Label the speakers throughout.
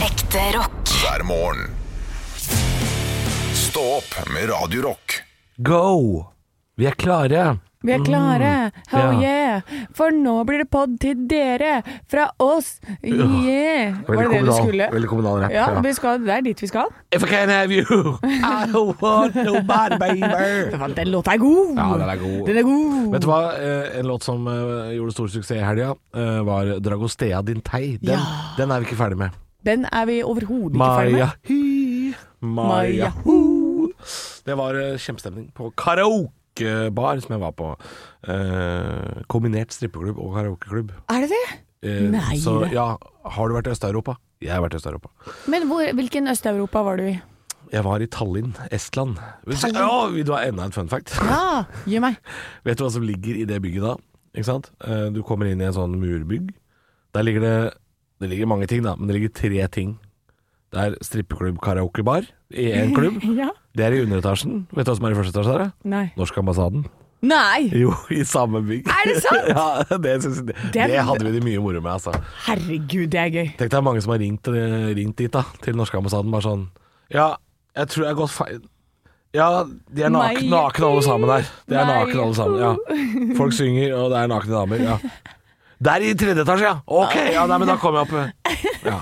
Speaker 1: Ekte rock.
Speaker 2: hver morgen. Stå opp med Radio Rock.
Speaker 3: Go! Vi er klare.
Speaker 4: Vi er klare. Hell
Speaker 3: Mm. Ja.
Speaker 4: yeah. For nå blir det pod til dere fra oss. Yeah. Var det det du
Speaker 3: kommunal-
Speaker 4: skulle?
Speaker 3: veldig kommunal rap,
Speaker 4: Ja,
Speaker 3: ja.
Speaker 4: vi skal, det er dit vi skal.
Speaker 3: If I can have you, I don't want nobody, baby.
Speaker 4: Ja, Den låta er god.
Speaker 3: Ja, den er god.
Speaker 4: Den er god.
Speaker 3: Vet du hva, eh, en låt som eh, gjorde stor suksess i helga, eh, var Dragostea din tei. Den,
Speaker 4: Ja.
Speaker 3: den er vi ikke ferdig med.
Speaker 4: Den er vi overhodet ikke ferdig
Speaker 3: Maja
Speaker 4: med.
Speaker 3: hy, Maja
Speaker 4: Maja
Speaker 3: hu. Det var eh, kjempestemning på karaokebar som jeg var på. Eh, kombinert strippeklubb og karaokeklubb.
Speaker 4: Er det det?
Speaker 3: Eh,
Speaker 4: Nei.
Speaker 3: Så ja, har du vært i Øst-Europa? Jeg har vært i Øst-Europa.
Speaker 4: Men hvor, hvilken Øst-Europa var du i?
Speaker 3: Jeg var i Tallinn, Estland. Å, vil du ha enda en fun fact?
Speaker 4: Ja, gi meg.
Speaker 3: Vet du hva som ligger i det bygget da? Ikke sant? Eh, Du kommer inn i en sånn murbygg. Der ligger det Det ligger mange ting, da, men det ligger tre ting. Det er strippeklubb, karaokebar i én klubb.
Speaker 4: Ja.
Speaker 3: Det er i underetasjen. Vet du hva som er i første etasje? der? da?
Speaker 4: Nei.
Speaker 3: Norskambassaden.
Speaker 4: Nei!
Speaker 3: Jo, i samme bygg.
Speaker 4: Er det sant?
Speaker 3: ja, det, synes, det,
Speaker 4: Den-
Speaker 3: det hadde vi det mye moro med, altså.
Speaker 4: Herregud, det er gøy.
Speaker 3: Tenk deg mange som har ringt, eh, ringt dit, da, til norskambassaden, bare sånn Ja, jeg tror jeg har gått feil Ja, de er
Speaker 4: Nei.
Speaker 3: nakne, nakne alle sammen der. De er
Speaker 4: Nei.
Speaker 3: nakne alle sammen, ja. Folk synger, og det er nakne damer. Ja. Der i tredje etasje, ja! Ok, ja, nei, men da kommer jeg opp. Ja.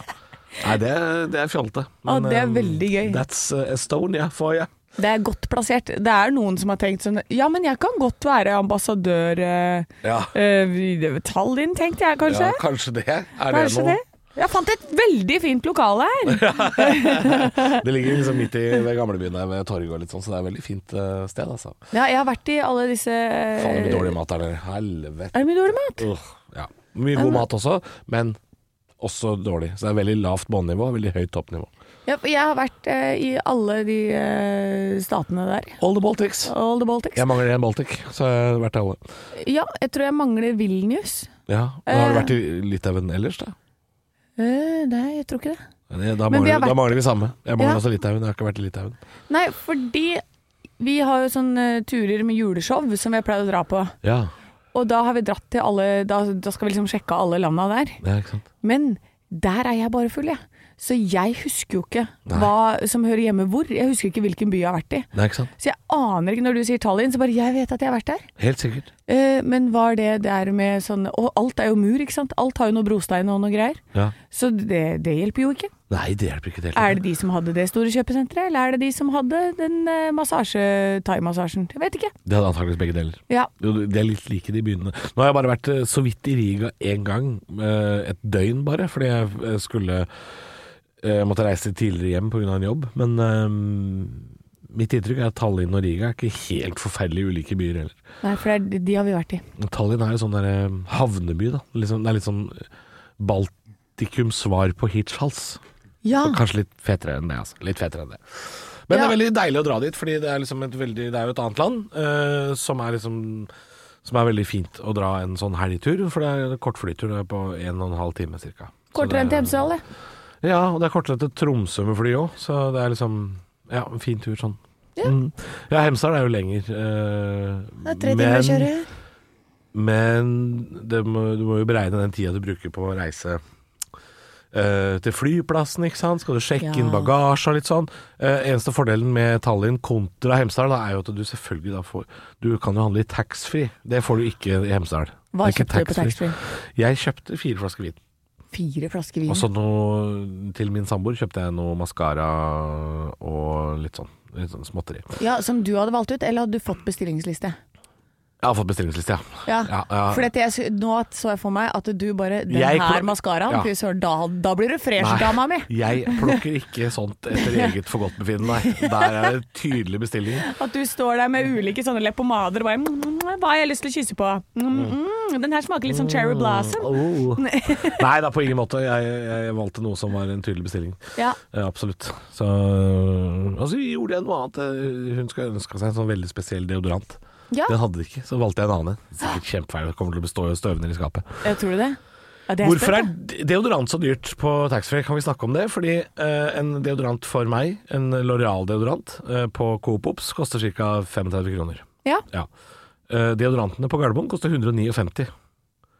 Speaker 3: Nei, det, det er fjolte.
Speaker 4: Å, det er
Speaker 3: eh,
Speaker 4: veldig gøy.
Speaker 3: That's eh, Estonia for you.
Speaker 4: Det er godt plassert. Det er noen som har tenkt sånn Ja, men jeg kan godt være ambassadør eh,
Speaker 3: Ja.
Speaker 4: eh, i Tallinn, tenkte jeg kanskje.
Speaker 3: Ja, kanskje det. Er
Speaker 4: Kanskje
Speaker 3: det
Speaker 4: det. Jeg fant et veldig fint lokale her.
Speaker 3: noe? Det ligger liksom midt i ved gamlebyen der ved torget og litt sånn, så det er et veldig fint eh, sted, altså.
Speaker 4: Ja, jeg har vært i alle disse
Speaker 3: Faen, det blir
Speaker 4: Er
Speaker 3: dårlig mat der nede. Helvete.
Speaker 4: det mye dårlig mat?
Speaker 3: Åh, ja. Mye god mat også, men også dårlig. Så det er veldig lavt bånnivå, veldig høyt toppnivå.
Speaker 4: Ja, for jeg har vært eh, i alle de eh, statene der.
Speaker 3: All the Baltics.
Speaker 4: All the Baltics.
Speaker 3: Jeg mangler en Baltic, så jeg har vært i alle.
Speaker 4: Ja, jeg tror jeg mangler Vilnius.
Speaker 3: Ja, men Har du
Speaker 4: Eh.
Speaker 3: vært i Litauen ellers, da?
Speaker 4: Eh, nei, jeg tror ikke det.
Speaker 3: Det- Da
Speaker 4: Men vi
Speaker 3: mangler,
Speaker 4: har vært-
Speaker 3: da mangler vi samme. Jeg mangler
Speaker 4: Ja.
Speaker 3: også Litauen. Jeg har ikke vært i Litauen.
Speaker 4: Nei, fordi vi har jo sånne turer med juleshow som vi har pleid å dra på.
Speaker 3: Ja,
Speaker 4: Og da har vi dratt til alle Da, da skal vi liksom sjekke alle landa der.
Speaker 3: ja ikke sant.
Speaker 4: Men der er jeg bare full, jeg. Så jeg husker jo ikke
Speaker 3: Nei.
Speaker 4: hva som hører hjemme hvor. Jeg husker ikke hvilken by jeg har vært i.
Speaker 3: Nei, ikke sant.
Speaker 4: Så jeg aner ikke når du sier Tallinn, så bare jeg vet at jeg har vært der.
Speaker 3: Helt sikkert.
Speaker 4: Eh, men var det der med sånn Og alt er jo mur, ikke sant? Alt har jo noe brostein og noe greier.
Speaker 3: Ja.
Speaker 4: Så det, det hjelper jo ikke.
Speaker 3: Nei, det hjelper ikke i det hele
Speaker 4: Er
Speaker 3: tatt.
Speaker 4: det de som hadde det store kjøpesenteret, eller er det de som hadde den eh, massasje, thaimassasjen? Jeg vet ikke.
Speaker 3: Det hadde antakeligvis begge deler.
Speaker 4: Ja.
Speaker 3: Jo, De er litt like de byene. Nå har jeg bare vært eh, så vidt i Riga én gang, eh, et døgn bare, fordi jeg eh, skulle eh, måtte reise tidligere hjem pga. en jobb. Men eh, mitt inntrykk er at Tallinn og Riga er ikke helt forferdelig ulike byer heller.
Speaker 4: Nei, for det er, de har vi vært i.
Speaker 3: Tallinn er jo sånn der eh, havneby, da. Liksom, det er litt sånn Baltikums svar på Hirtshals.
Speaker 4: Ja.
Speaker 3: Og Kanskje litt fetere enn det, altså. Litt fetere enn det. Men det
Speaker 4: Ah. Ja.
Speaker 3: er veldig deilig å dra dit, fordi det er, liksom et veldig, det er jo et annet land eh, som, er liksom, som er veldig fint å dra en sånn helgetur. For det er en kort flytur det er på en og en halv time ca.
Speaker 4: Kortere enn til Hemsedal, det.
Speaker 3: Ja, og det er kortere til Tromsø med fly òg, så det er liksom ja, en fin tur sånn.
Speaker 4: Ja.
Speaker 3: Mm. ja Hemsedal er jo lenger. eh,
Speaker 4: Det er tre timer å kjøre.
Speaker 3: men det må, du må jo beregne den tida du bruker på å reise eh, til flyplassen, ikke sant. Skal du sjekke
Speaker 4: Ja.
Speaker 3: inn bagasje og litt sånn. Eh, eneste fordelen med Tallinn kontra Hemsedal da, er jo at du selvfølgelig da får Du kan jo handle i taxfree. Det får du ikke i Hemsedal.
Speaker 4: Hva
Speaker 3: Det er ikke
Speaker 4: kjøpte du på
Speaker 3: taxfree.
Speaker 4: taxfree?
Speaker 3: Jeg kjøpte fire flasker vin.
Speaker 4: Fire flasker vin.
Speaker 3: Og så noe til min samboer kjøpte jeg noe maskara og litt sånn. Litt sånn småtteri.
Speaker 4: Ja, Som du hadde valgt ut, eller hadde du fått bestillingsliste?
Speaker 3: Jeg har fått bestillingsliste, ja.
Speaker 4: Ja,
Speaker 3: Ja, ja.
Speaker 4: For dette jeg, sy- nå at- så jeg for meg at du bare Den
Speaker 3: Jeg
Speaker 4: her
Speaker 3: kom-
Speaker 4: maskaraen,
Speaker 3: Ja.
Speaker 4: fy søren, da, da blir du fresh, dama mi!
Speaker 3: jeg plukker ikke sånt etter eget forgodtbefinnende. nei. Der er det tydelige bestillinger.
Speaker 4: At du står der med ulike sånne leppomader og bare mm, mm, mm, Hva har jeg lyst til å kysse på? Mm, mm, den her smaker litt sånn cherry blossom.
Speaker 3: Oh. Nei da, på ingen måte. Jeg, jeg valgte noe som var en tydelig bestilling.
Speaker 4: Ja.
Speaker 3: Eh, Absolutt. Så Og så gjorde jeg noe annet. Eh, Hun skulle ønska seg en sånn veldig spesiell deodorant.
Speaker 4: ja.
Speaker 3: Den hadde de ikke, så valgte jeg en annen. en. Sikkert kjempefeil. Det kommer til å bestå i støvner i skapet.
Speaker 4: Jeg tror du det? Ja, det
Speaker 3: Hvorfor
Speaker 4: spent,
Speaker 3: er deodorant så dyrt på taxfree? Kan vi snakke om det? Fordi eh, en deodorant for meg, en Loreal-deodorant eh, på Coop Ops, koster ca. 35 kroner.
Speaker 4: Ja.
Speaker 3: Ja. Eh, deodorantene på Gardermoen koster 159.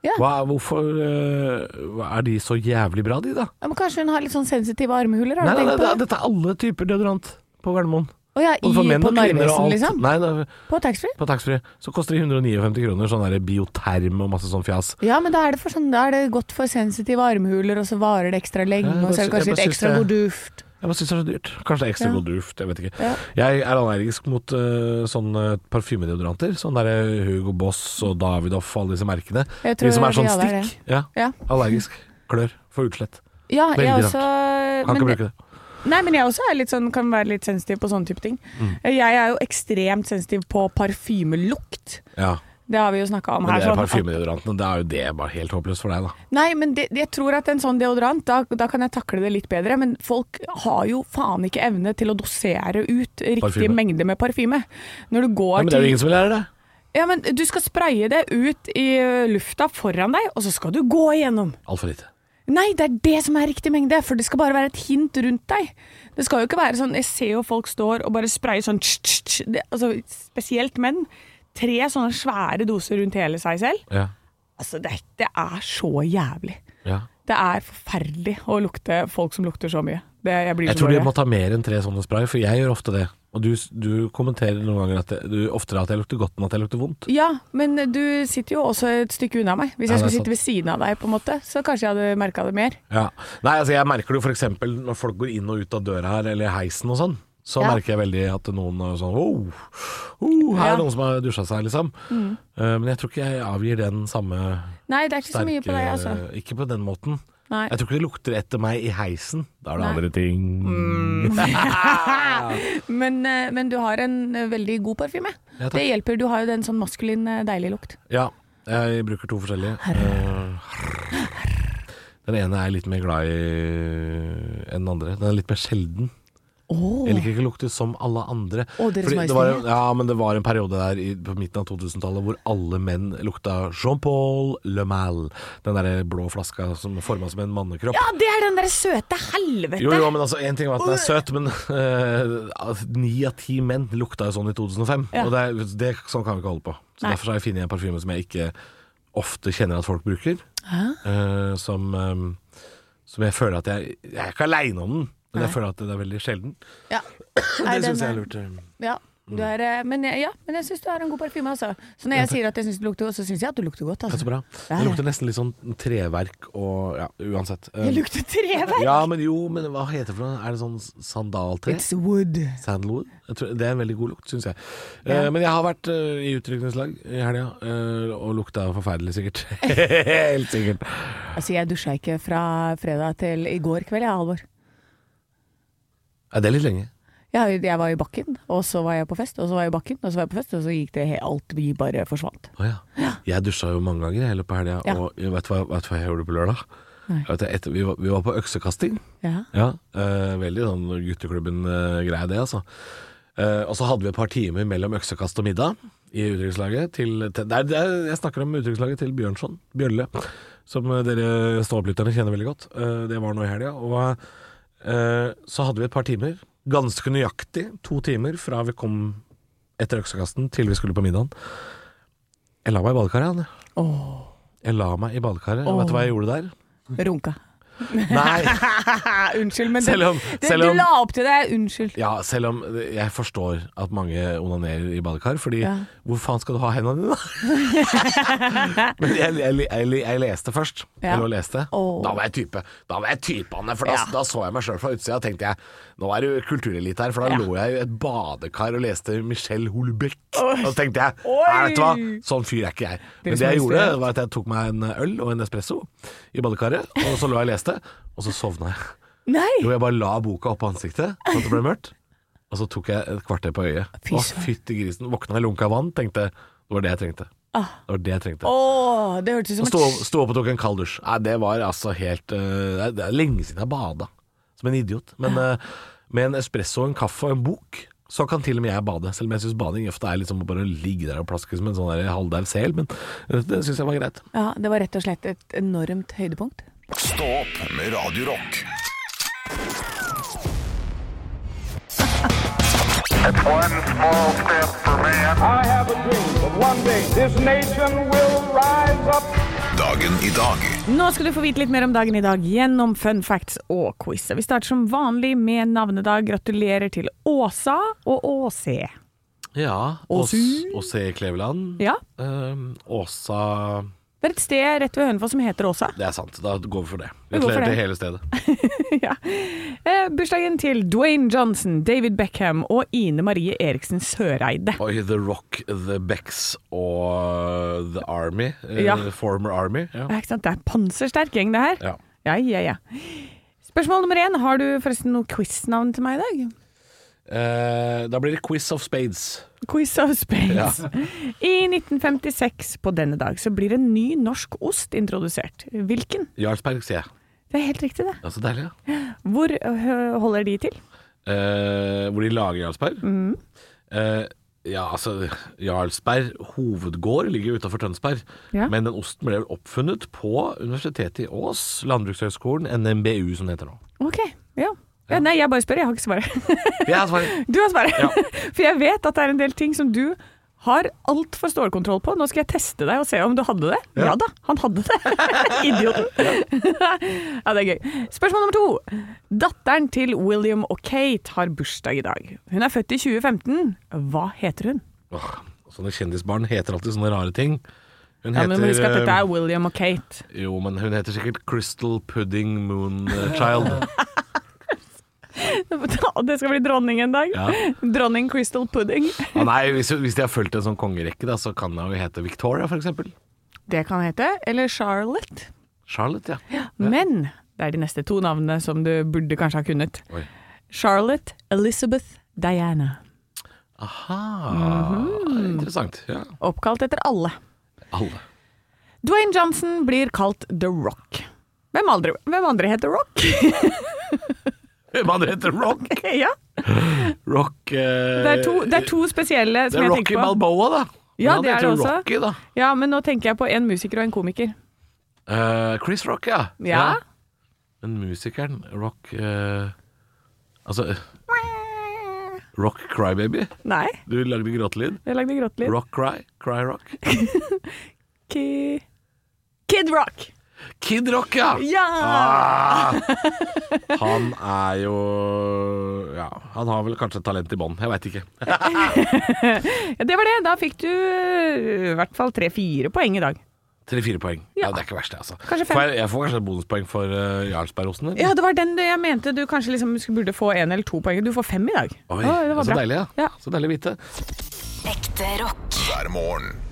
Speaker 4: Ja.
Speaker 3: Hva, er- hvorfor eh, hva er de så jævlig bra, de, da?
Speaker 4: Ja, men kanskje hun har litt sånn sensitive armhuler, har
Speaker 3: Nei,
Speaker 4: du
Speaker 3: nei,
Speaker 4: tenkt
Speaker 3: nei,
Speaker 4: på det?
Speaker 3: dette er alle typer deodorant på Gardermoen.
Speaker 4: Å ja, i,
Speaker 3: Både for menn
Speaker 4: på
Speaker 3: og kvinner og
Speaker 4: Narvesen,
Speaker 3: alt.
Speaker 4: liksom?
Speaker 3: Nei, nei,
Speaker 4: På taxfree?
Speaker 3: på taxfree. Så koster de 159 kroner, sånn der bioterm og masse sånn fjas.
Speaker 4: Ja, men da er, det for sånn, da er det godt for sensitive armhuler, og så varer det ekstra lenge,
Speaker 3: Ja, jeg
Speaker 4: og så
Speaker 3: bare sy-
Speaker 4: er det
Speaker 3: jeg
Speaker 4: kanskje litt
Speaker 3: bare
Speaker 4: ekstra
Speaker 3: syns
Speaker 4: god duft.
Speaker 3: Jeg bare syns det er så dyrt. Kanskje det er ekstra
Speaker 4: Ja.
Speaker 3: god duft, jeg vet ikke.
Speaker 4: Ja.
Speaker 3: Jeg er allergisk mot eh, sånne parfymedeodoranter. Sånn derre Hugo Boss og Davidoff og alle disse merkene.
Speaker 4: Jeg
Speaker 3: De
Speaker 4: tror
Speaker 3: som er
Speaker 4: vi
Speaker 3: sånn
Speaker 4: alle er
Speaker 3: stikk. Ja,
Speaker 4: Ja,
Speaker 3: allergisk. Klør. Får utslett.
Speaker 4: ja jeg
Speaker 3: Veldig
Speaker 4: også
Speaker 3: Kan
Speaker 4: Eh, men
Speaker 3: ikke
Speaker 4: det-
Speaker 3: bruke Mm. det.
Speaker 4: Nei, men jeg også er litt sånn, kan være litt sensitiv på sånne type ting. Jeg er jo ekstremt sensitiv på parfymelukt.
Speaker 3: Ja.
Speaker 4: Det har vi jo snakka om
Speaker 3: Men
Speaker 4: her.
Speaker 3: det er
Speaker 4: sånn at-
Speaker 3: parfymedeodorantene. Det er jo det bare helt håpløst for deg, da.
Speaker 4: Nei, men det, jeg tror at en sånn deodorant, da, da kan jeg takle det litt bedre. Men folk har jo faen ikke evne til å dosere ut riktig
Speaker 3: Parfyme.
Speaker 4: mengde med parfyme. Når du går
Speaker 3: Ja, men det er
Speaker 4: til
Speaker 3: jo ingen som vil lære det.
Speaker 4: Ja, men du skal spraye det ut i ø, lufta foran deg, og så skal du gå igjennom.
Speaker 3: Altfor lite.
Speaker 4: Nei, det er det som er riktig mengde, for det skal bare være et hint rundt deg. Det skal jo ikke være sånn Jeg ser jo folk står og bare sprayer sånn tss, tss, tss. Det, altså, Spesielt menn. Tre sånne svære doser rundt hele seg selv.
Speaker 3: Ja.
Speaker 4: Altså, det, er- det er så jævlig.
Speaker 3: ja.
Speaker 4: Det er forferdelig å lukte folk som lukter så mye. Det, jeg blir
Speaker 3: Jeg
Speaker 4: så
Speaker 3: tror de
Speaker 4: dårlig.
Speaker 3: må ta mer enn tre sånne spray, for jeg gjør ofte det. Og du, du kommenterer noen ganger at jeg, du, oftere at jeg lukter godt enn at jeg lukter vondt.
Speaker 4: Ja, men du sitter jo også et stykke unna meg. Hvis
Speaker 3: Ja, det er
Speaker 4: jeg skulle sitte ved siden av deg, på en måte, så kanskje jeg hadde merka det mer.
Speaker 3: Ja. Nei, altså jeg merker det jo f.eks. når folk går inn og ut av døra her, eller i heisen og sånn. Så
Speaker 4: Ja.
Speaker 3: merker jeg veldig at noen er sånn oh, oh, Her er
Speaker 4: Ja. Mm.
Speaker 3: noen som har dusja seg, liksom. Eh, men jeg tror ikke jeg avgir den samme
Speaker 4: Nei, det er ikke så mye på
Speaker 3: sterke
Speaker 4: deg, altså.
Speaker 3: Ikke på den måten.
Speaker 4: Nei.
Speaker 3: Jeg tror ikke det lukter etter meg i heisen. Da er det
Speaker 4: Nei. Mm.
Speaker 3: andre ting.
Speaker 4: Men, eh, men du har en eh, veldig god parfyme.
Speaker 3: Ja, takk.
Speaker 4: det hjelper. Du har jo den sånn maskulin, eh, deilig lukt.
Speaker 3: Ja, jeg bruker to forskjellige. Eh, Den ene er jeg litt mer glad i enn den andre. Den er litt mer sjelden. Jeg liker ikke å lukte som alle andre.
Speaker 4: Å, Deres
Speaker 3: Fordi det var,
Speaker 4: Majestet.
Speaker 3: ja, men det var en periode der i, på midten av 2000-tallet hvor alle menn lukta Jean-Paul Le Mal. Den derre blå flaska som forma som en mannekropp.
Speaker 4: Ja, det er den derre søte helvete!
Speaker 3: Jo, jo, men altså, En ting var at den er søt, men eh, altså, ni av ti menn lukta jo sånn i 2005.
Speaker 4: Ja.
Speaker 3: Og det, er, det Sånn kan vi ikke holde på. Så
Speaker 4: Nei.
Speaker 3: Derfor har jeg funnet en parfyme som jeg ikke ofte kjenner at folk bruker.
Speaker 4: Ah.
Speaker 3: eh, som, eh, som jeg føler at jeg Jeg er ikke aleine om den, men jeg føler at det er veldig sjelden.
Speaker 4: Ja. Nei,
Speaker 3: det
Speaker 4: den
Speaker 3: syns jeg
Speaker 4: er-
Speaker 3: er lurt. Mm.
Speaker 4: Ja, du er, eh, men, jeg- ja, men jeg syns du har en god parfyme, altså. Så når jeg sier at jeg syns du lukter godt, så syns jeg at du lukter godt,
Speaker 3: Det er så
Speaker 4: altså.
Speaker 3: bra. Det lukter nesten litt sånn treverk og Ja, uansett. Eh,
Speaker 4: Jeg lukter treverk!
Speaker 3: ja, men jo, men hva heter det for noe? Er det sånn sandaltre?
Speaker 4: It's wood.
Speaker 3: Sandalwood. Jeg tror, det er en veldig god lukt, syns jeg. Eh, men jeg har vært eh, i utrykningslag i helga, eh, og lukta forferdelig, sikkert. Helt sikkert.
Speaker 4: Altså, jeg dusja ikke fra fredag til i går kveld, jeg, Halvor.
Speaker 3: Ja, det er litt lenge.
Speaker 4: Jeg, har jo- jeg var i bakken, og så var jeg på fest, og så var jeg i bakken, og så var jeg på fest, og så gikk det he- alt vi bare forsvant.
Speaker 3: Å ja. Jeg dusja jo mange ganger i hele på helga,
Speaker 4: Ja.
Speaker 3: og vet du, hva, vet du hva jeg gjorde på lørdag?
Speaker 4: Nei.
Speaker 3: Vet du, etter, vi, var, vi var på øksekasting.
Speaker 4: Ja.
Speaker 3: Ja, eh, veldig sånn gutteklubben-greie, det, altså. Eh, og så hadde vi et par timer mellom øksekast og middag i utenrikslaget. Til, til, det er- det er- jeg snakker om utenrikslaget til Bjørnson, Bjørle, som eh, dere ståopplytterne kjenner veldig godt. Eh, det var nå i helga. Og eh, så hadde vi et par timer, ganske nøyaktig to timer fra vi kom etter øksekasten til vi skulle på middagen. Jeg la meg i badekaret, Anne. Jeg la meg i badekaret, og vet du hva jeg gjorde der?
Speaker 4: Runka.
Speaker 3: Nei!
Speaker 4: unnskyld, men
Speaker 3: Selv om-
Speaker 4: det,
Speaker 3: selv
Speaker 4: det,
Speaker 3: om-
Speaker 4: du la opp til det. Unnskyld.
Speaker 3: Ja, selv om jeg forstår at mange onanerer i badekar, fordi
Speaker 4: Ja.
Speaker 3: hvor faen skal du ha hendene dine, da? Men jeg, jeg, jeg, jeg leste først.
Speaker 4: Ja.
Speaker 3: Jeg lå og leste.
Speaker 4: Åh.
Speaker 3: Da var jeg type. Da var jeg type, Anne, for da,
Speaker 4: Ja.
Speaker 3: da så jeg meg sjøl fra utsida og tenkte jeg, nå er du kulturelite her, for da
Speaker 4: Ja.
Speaker 3: lå jeg i et badekar og leste Michelle Holbeck.
Speaker 4: Oi.
Speaker 3: Og så tenkte jeg,
Speaker 4: Oi. liksom
Speaker 3: nei, vet du hva, sånn fyr er ikke jeg.
Speaker 4: Dere
Speaker 3: Men det
Speaker 4: som
Speaker 3: jeg
Speaker 4: har
Speaker 3: gjorde,
Speaker 4: studert.
Speaker 3: var at jeg tok meg en øl og en espresso i badekaret, og så lå jeg og leste, og så sovna jeg.
Speaker 4: Nei!
Speaker 3: Jo, jeg bare la boka oppå ansiktet, sånn at det ble mørkt. Og så tok jeg et kvarter på øyet.
Speaker 4: Fy
Speaker 3: Å,
Speaker 4: søren.
Speaker 3: fytti grisen. Våkna i lunka vann, tenkte det var det jeg trengte.
Speaker 4: Ah.
Speaker 3: Det var det jeg trengte.
Speaker 4: Åh, det hørtes
Speaker 3: Og
Speaker 4: ut som
Speaker 3: Stå, stå opp og tok en kald dusj. Nei, det var altså helt eh, det er- Det er lenge siden jeg bada. Som en idiot. Men eh, med en espresso, en kaffe og en bok, så kan til og med jeg bade. Selv om jeg syns bading ofte er liksom bare å ligge der og plaske som en sånn der halvdau sel. Men eh, det syns jeg var greit.
Speaker 4: Ja, det var rett og slett et enormt høydepunkt.
Speaker 2: Stå opp med Radio Rock.
Speaker 1: One small step for man.
Speaker 5: I have a dream that one day this nation will rise up
Speaker 2: Dagen i dag
Speaker 4: Nå skal du få vite litt mer om dagen i dag gjennom fun facts og quiz. Vi starter som vanlig med navnedag. Gratulerer til Åsa og Åse.
Speaker 3: Ja.
Speaker 4: Ås- Åsu.
Speaker 3: Åse Kleveland. Eh,
Speaker 4: Ja,
Speaker 3: Åsa
Speaker 4: det er et sted rett ved Hønefoss som heter Åsa.
Speaker 3: Det er sant. Da går vi for det.
Speaker 4: Vi går
Speaker 3: Gratulerer
Speaker 4: for det.
Speaker 3: til hele stedet.
Speaker 4: ja. eh, bursdagen til Dwayne Johnson, David Beckham og Ine Marie Eriksen Søreide.
Speaker 3: Oi, The Rock, The Becks og The Army. eh,
Speaker 4: Ja.
Speaker 3: Former Army. Ja.
Speaker 4: Ja, ikke sant? Det er en pansersterk gjeng, det her.
Speaker 3: ja.
Speaker 4: Ja, ja, ja. Spørsmål nummer én. Har du forresten noe quiznavn til meg i dag?
Speaker 3: Eh, da blir det Quiz of Spades.
Speaker 4: Quiz of Space. I 1956 på denne dag så blir en ny norsk ost introdusert. Hvilken?
Speaker 3: Jarlsberg, sier jeg.
Speaker 4: Det er helt riktig, det.
Speaker 3: Ja, så deilig, ja.
Speaker 4: Hvor ø, holder de til?
Speaker 3: Eh, hvor de lager Jarlsberg.
Speaker 4: Mm.
Speaker 3: Eh, ja, altså Jarlsberg hovedgård ligger utafor Tønsberg.
Speaker 4: Ja.
Speaker 3: Men den osten ble vel oppfunnet på Universitetet i Ås, Landbrukshøgskolen, NMBU som det heter nå.
Speaker 4: Ok, ja. ja. Nei, jeg bare spør, jeg har ikke svaret.
Speaker 3: Ja, svaret.
Speaker 4: Du har svaret! For jeg vet at det er en del ting som du har altfor stålkontroll på. Nå skal jeg teste deg og se om du hadde det. Ja, da, han hadde det! Idioten. ja, det er gøy. Spørsmål nummer to. Datteren til William og Kate har bursdag i dag. Hun er født i 2015. Hva heter hun?
Speaker 3: Åh, sånne kjendisbarn heter alltid sånne rare ting. Hun
Speaker 4: Ja, men husk at dette
Speaker 3: eh,
Speaker 4: er William og Kate.
Speaker 3: Jo, men hun heter sikkert Crystal Pudding Moon eh, Child.
Speaker 4: Det skal bli dronning en dag.
Speaker 3: Ja.
Speaker 4: Dronning Crystal Pudding.
Speaker 3: Ja, nei, hvis, hvis de har fulgt en sånn kongerekke, da, så kan hun jo hete Victoria, for eksempel.
Speaker 4: Det kan hete. Eller Charlotte.
Speaker 3: Charlotte, ja.
Speaker 4: Men det er de neste to navnene som du burde kanskje ha kunnet.
Speaker 3: Oi.
Speaker 4: Charlotte Elizabeth Diana.
Speaker 3: Aha.
Speaker 4: Mhm.
Speaker 3: Interessant. Ja.
Speaker 4: Oppkalt etter alle.
Speaker 3: Alle.
Speaker 4: Dwayne Johnson blir kalt The Rock. Hvem andre, hvem andre heter Rock?
Speaker 3: Hvem andre heter Rock?
Speaker 4: ja,
Speaker 3: Rock eh,
Speaker 4: det er, to, det er to spesielle
Speaker 3: det
Speaker 4: som
Speaker 3: er
Speaker 4: jeg
Speaker 3: Rocky
Speaker 4: tenker på.
Speaker 3: Balboa, da.
Speaker 4: Ja,
Speaker 3: Men han
Speaker 4: det er det
Speaker 3: heter jo
Speaker 4: også.
Speaker 3: Rocky, da.
Speaker 4: Ja, men nå tenker jeg på en musiker og en komiker.
Speaker 3: Eh, Chris Rock, ja.
Speaker 4: Ja.
Speaker 3: Men musikeren Rock eh, Altså eh, Rock Crybaby.
Speaker 4: Nei,
Speaker 3: Du lagde gråtelyd.
Speaker 4: jeg lagde gråtelyd.
Speaker 3: Rock Cry. Cry Rock.
Speaker 4: Ki- Kid Rock!
Speaker 3: Kid Rock, ja!
Speaker 4: Ja!
Speaker 3: Ah! Han er jo Ja, han har vel kanskje et talent i bånn. Jeg veit ikke.
Speaker 4: Ja, Det var det. Da fikk du øh, i hvert fall tre-fire poeng i dag.
Speaker 3: Tre-fire poeng.
Speaker 4: Ja.
Speaker 3: Ja. Det er ikke verst, det, altså.
Speaker 4: Kanskje fem.
Speaker 3: Får jeg, jeg får kanskje et bonuspoeng for uh, Jarlsbergosten? eller?
Speaker 4: Ja, det var den du- jeg mente du kanskje liksom skulle- burde få én eller to poeng. Du får fem i dag.
Speaker 3: Oi,
Speaker 4: Å, det var
Speaker 3: så
Speaker 4: bra.
Speaker 3: deilig, ja.
Speaker 4: Ja.
Speaker 3: Så deilig å vite.
Speaker 5: Ekte rock.
Speaker 2: hver morgen.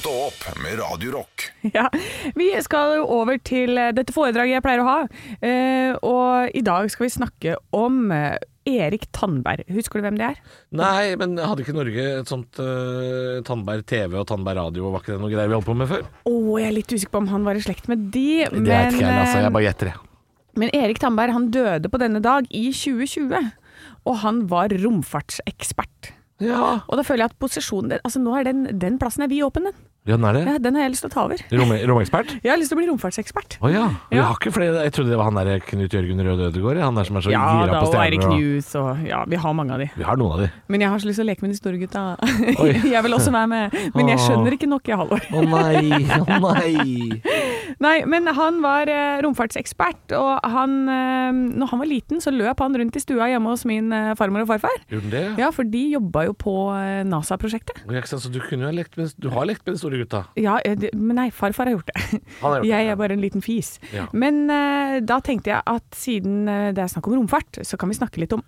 Speaker 2: Stå opp med Radio Rock.
Speaker 4: Ja. Vi skal jo over til eh, dette foredraget jeg pleier å ha. Eh, og i dag skal vi snakke om eh, Erik Tandberg. Husker du hvem det er?
Speaker 3: Nei, men hadde ikke Norge et sånt eh, Tandberg TV og Tandberg Radio? Var ikke det noe greier vi holdt på med før?
Speaker 4: Å, jeg er litt usikker på om han var i slekt med de.
Speaker 3: Det vet ikke jeg, altså.
Speaker 4: eh,
Speaker 3: Jeg bare gjetter det.
Speaker 4: men Erik Tandberg han døde på denne dag i 2020. Og han var romfartsekspert.
Speaker 3: Ja.
Speaker 4: Og da føler jeg at posisjonen der, altså nå er den, den plassen er vi åpen, den.
Speaker 3: ja, den er det.
Speaker 4: Ja, den har jeg lyst til å ta over.
Speaker 3: Rom- Romekspert?
Speaker 4: Jeg har lyst til å bli romfartsekspert.
Speaker 3: Å ja. Vi
Speaker 4: Ja.
Speaker 3: har ikke flere. Jeg trodde det var han der Knut Jørgen Rød Ødegård, han der som er så
Speaker 4: Ja
Speaker 3: gira
Speaker 4: da,
Speaker 3: på
Speaker 4: og Eirik
Speaker 3: stjerner. og-
Speaker 4: Knus og ja, vi har mange av de.
Speaker 3: Vi har noen av de.
Speaker 4: Men jeg har så lyst til å leke med de store gutta.
Speaker 3: Oi.
Speaker 4: jeg vil også være med, men jeg
Speaker 3: Åh.
Speaker 4: skjønner ikke nok, jeg, Halvor.
Speaker 3: Å nei, å nei.
Speaker 4: Nei, men han var eh, romfartsekspert, og han eh, Når han var liten, så løp han rundt i stua hjemme hos min eh, farmor og farfar.
Speaker 3: Gjorde den det?
Speaker 4: Ja, for de jobba jo på eh, NASA-prosjektet.
Speaker 3: Og jeg ikke sant, Så altså, du, kunne jo ha lekt med, du har lekt med de store gutta?
Speaker 4: Ja, eh, det- men nei, farfar har gjort det.
Speaker 3: Han har gjort det,
Speaker 4: jeg
Speaker 3: ja.
Speaker 4: er bare en liten fis.
Speaker 3: Ja.
Speaker 4: Men eh, da tenkte jeg at siden eh, det er snakk om romfart, så kan vi snakke litt om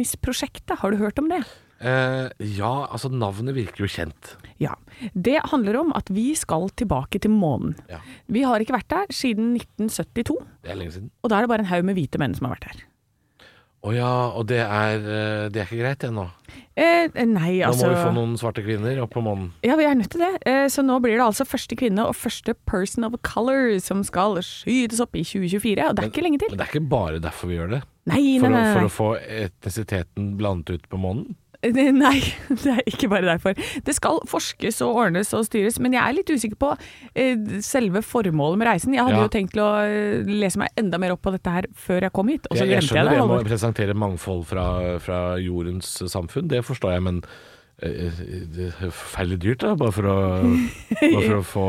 Speaker 4: Artemis-prosjektet. Har du hørt om det?
Speaker 3: Eh, ja, altså navnet virker jo kjent.
Speaker 4: Ja. Det handler om at vi skal tilbake til månen.
Speaker 3: Ja.
Speaker 4: Vi har ikke vært der siden 1972,
Speaker 3: Det er lenge siden.
Speaker 4: og da er det bare en haug med hvite menn som har vært der.
Speaker 3: Å ja, og det er, eh, det er ikke greit ennå.
Speaker 4: Eh, nei,
Speaker 3: Nå
Speaker 4: altså
Speaker 3: må vi få noen svarte kvinner opp på månen.
Speaker 4: Ja, vi er nødt til det. Eh, så nå blir det altså første kvinne og første person of color som skal skytes opp i 2024, og det er ikke lenge til.
Speaker 3: Men det er ikke bare derfor vi gjør det.
Speaker 4: Nei,
Speaker 3: For,
Speaker 4: nei,
Speaker 3: å,
Speaker 4: nei.
Speaker 3: for å få etnisiteten blandet ut på månen.
Speaker 4: Eh, Nei, det er ikke bare derfor. Det skal forskes og ordnes og styres, men jeg er litt usikker på eh, selve formålet med reisen. Jeg hadde
Speaker 3: Ja.
Speaker 4: jo tenkt til å eh, lese meg enda mer opp på dette her før jeg kom hit, og så
Speaker 3: Jeg, jeg
Speaker 4: glemte jeg
Speaker 3: skjønner det
Speaker 4: det.
Speaker 3: med
Speaker 4: Halvor.
Speaker 3: å presentere mangfold fra, fra jordens samfunn, det forstår jeg, eh, men eh, det er forferdelig dyrt, da. Bare for å, bare for å få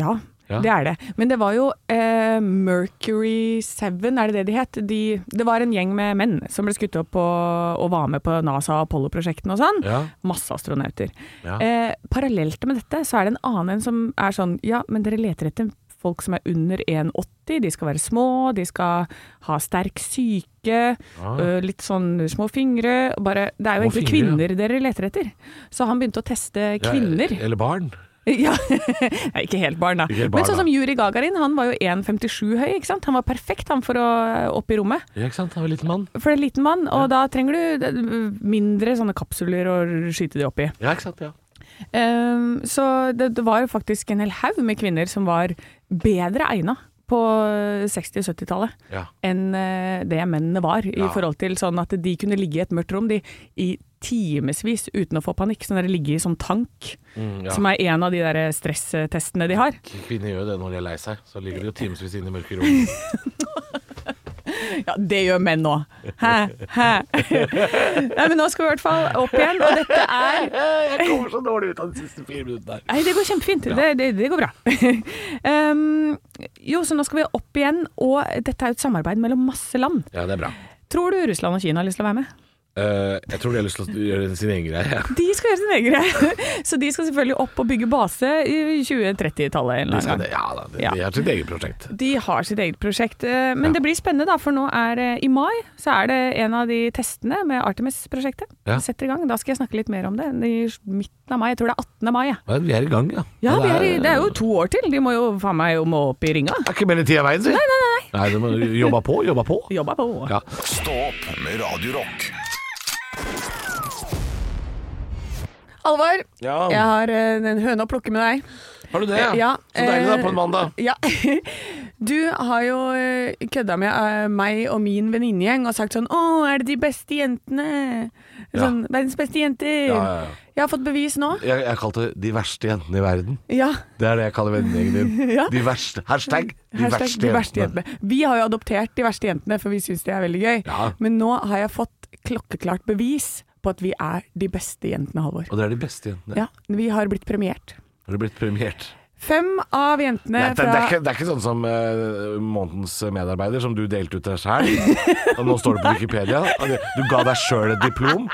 Speaker 4: Ja,
Speaker 3: Ja.
Speaker 4: det er det. Men det var jo eh, Mercury Seven, er det det de het? De, det var en gjeng med menn som ble skutt opp på, og var med på NASA og Apollo-prosjektene og sånn.
Speaker 3: Ja.
Speaker 4: Masse astronauter.
Speaker 3: Ja.
Speaker 4: Eh, parallelt med dette så er det en annen en som er sånn Ja, men dere leter etter folk som er under 1,80. De skal være små, de skal ha sterk syke, ø, litt sånn små fingre. og Bare, det er
Speaker 3: Ah.
Speaker 4: jo
Speaker 3: Små
Speaker 4: egentlig
Speaker 3: fingre, ja.
Speaker 4: kvinner dere leter etter. Så han begynte å teste
Speaker 3: Ja,
Speaker 4: kvinner.
Speaker 3: Eller barn.
Speaker 4: Ja, Nei, ikke helt barn da.
Speaker 3: Ikke helt barn,
Speaker 4: Men sånn
Speaker 3: da.
Speaker 4: som Yuri Gagarin, han var jo 1,57 høy, ikke sant? Han var perfekt han for å opp i rommet.
Speaker 3: Ja, ikke sant? Han var en liten mann.
Speaker 4: For en liten mann, og da trenger du eh, mindre sånne kapsuler å skyte de opp i.
Speaker 3: Ja, ikke sant? Ja.
Speaker 4: Ehm, så det, det var jo faktisk en hel haug med kvinner som var bedre egna på 60- og 70-tallet
Speaker 3: Ja.
Speaker 4: enn eh, det mennene var, i
Speaker 3: Ja.
Speaker 4: forhold til sånn at de kunne ligge i et mørkt rom de, i timevis uten å få panikk. Sånn der ligge i sånn tank,
Speaker 3: Mm, ja.
Speaker 4: som er en av de der eh, stresstestene de har.
Speaker 3: Kvinner gjør jo det når de er lei seg. Så ligger de jo timevis inne i mørke rom.
Speaker 4: Ja, det gjør menn nå. Hæ? Hæ? Nei, men nå skal vi i hvert fall opp igjen, og dette er
Speaker 3: Jeg kommer så dårlig ut av de siste fire minuttene her.
Speaker 4: Nei, det går kjempefint. Det, det, det går bra. um, jo, så nå skal vi opp igjen, og dette er jo et samarbeid mellom masse land.
Speaker 3: Ja, det er bra.
Speaker 4: Tror du Russland og Kina har lyst til å være med?
Speaker 3: Eh, jeg tror de har lyst til å gjøre sin egen greie.
Speaker 4: De skal gjøre sin egen greie. Så de skal selvfølgelig opp og bygge base i 2030-tallet
Speaker 3: De
Speaker 4: en eller
Speaker 3: skal
Speaker 4: annen
Speaker 3: det.
Speaker 4: gang.
Speaker 3: Ja da, de,
Speaker 4: Ja.
Speaker 3: de har sitt eget prosjekt.
Speaker 4: De har sitt eget prosjekt. eh, Men det blir spennende, da, for nå er eh, i mai så er det en av de testene med Artemis-prosjektet.
Speaker 3: Ja.
Speaker 4: Setter i gang. Da skal jeg snakke litt mer om det. I midten av mai. Jeg tror det er 18. mai. Ja.
Speaker 3: Men vi er i gang, ja.
Speaker 4: Ja,
Speaker 3: Men
Speaker 4: vi er, i- det er jo to år til. De må jo faen meg jo må opp i ringa.
Speaker 3: Det er ikke mer enn tida i veien, si. Nei, nei, nei. nei du må jobbe på, jobbe på.
Speaker 4: Jobba på.
Speaker 3: Ja.
Speaker 2: Stå opp med Radio Rock.
Speaker 4: Alvor,
Speaker 3: Ja.
Speaker 4: jeg har eh, en høne å plukke med deg.
Speaker 3: Har du det?
Speaker 4: Eh, ja,
Speaker 3: Så deilig da,
Speaker 4: eh,
Speaker 3: på en mandag.
Speaker 4: Ja. Du har jo eh, kødda med eh, meg og min venninnegjeng og sagt sånn 'Å, er det de beste jentene?' Sånn, 'Verdens beste jenter'.
Speaker 3: Ja, ja, ja.
Speaker 4: Jeg har fått bevis nå.
Speaker 3: Jeg, jeg kalte det de verste jentene i verden.
Speaker 4: Ja.
Speaker 3: Det er det jeg kaller vennegjengen din.
Speaker 4: Ja.
Speaker 3: De verste. Hashtag de
Speaker 4: Hashtag
Speaker 3: verste
Speaker 4: de
Speaker 3: jentene.
Speaker 4: verste jentene. Vi har jo adoptert de verste jentene, for vi syns det er veldig gøy.
Speaker 3: Ja.
Speaker 4: Men nå har jeg fått klokkeklart bevis på at vi er de beste jentene, Halvor.
Speaker 3: Og det er de beste jentene.
Speaker 4: Ja, vi har blitt premiert.
Speaker 3: Har du blitt premiert?
Speaker 4: Fem av
Speaker 3: Det,
Speaker 4: jentene
Speaker 3: det, det, er
Speaker 4: fra
Speaker 3: ikke, det er ikke sånn som eh, månedens medarbeider, som du delte ut deg sjæl. Og nå står det på Wikipedia. Og det- Du ga deg sjøl et diplom.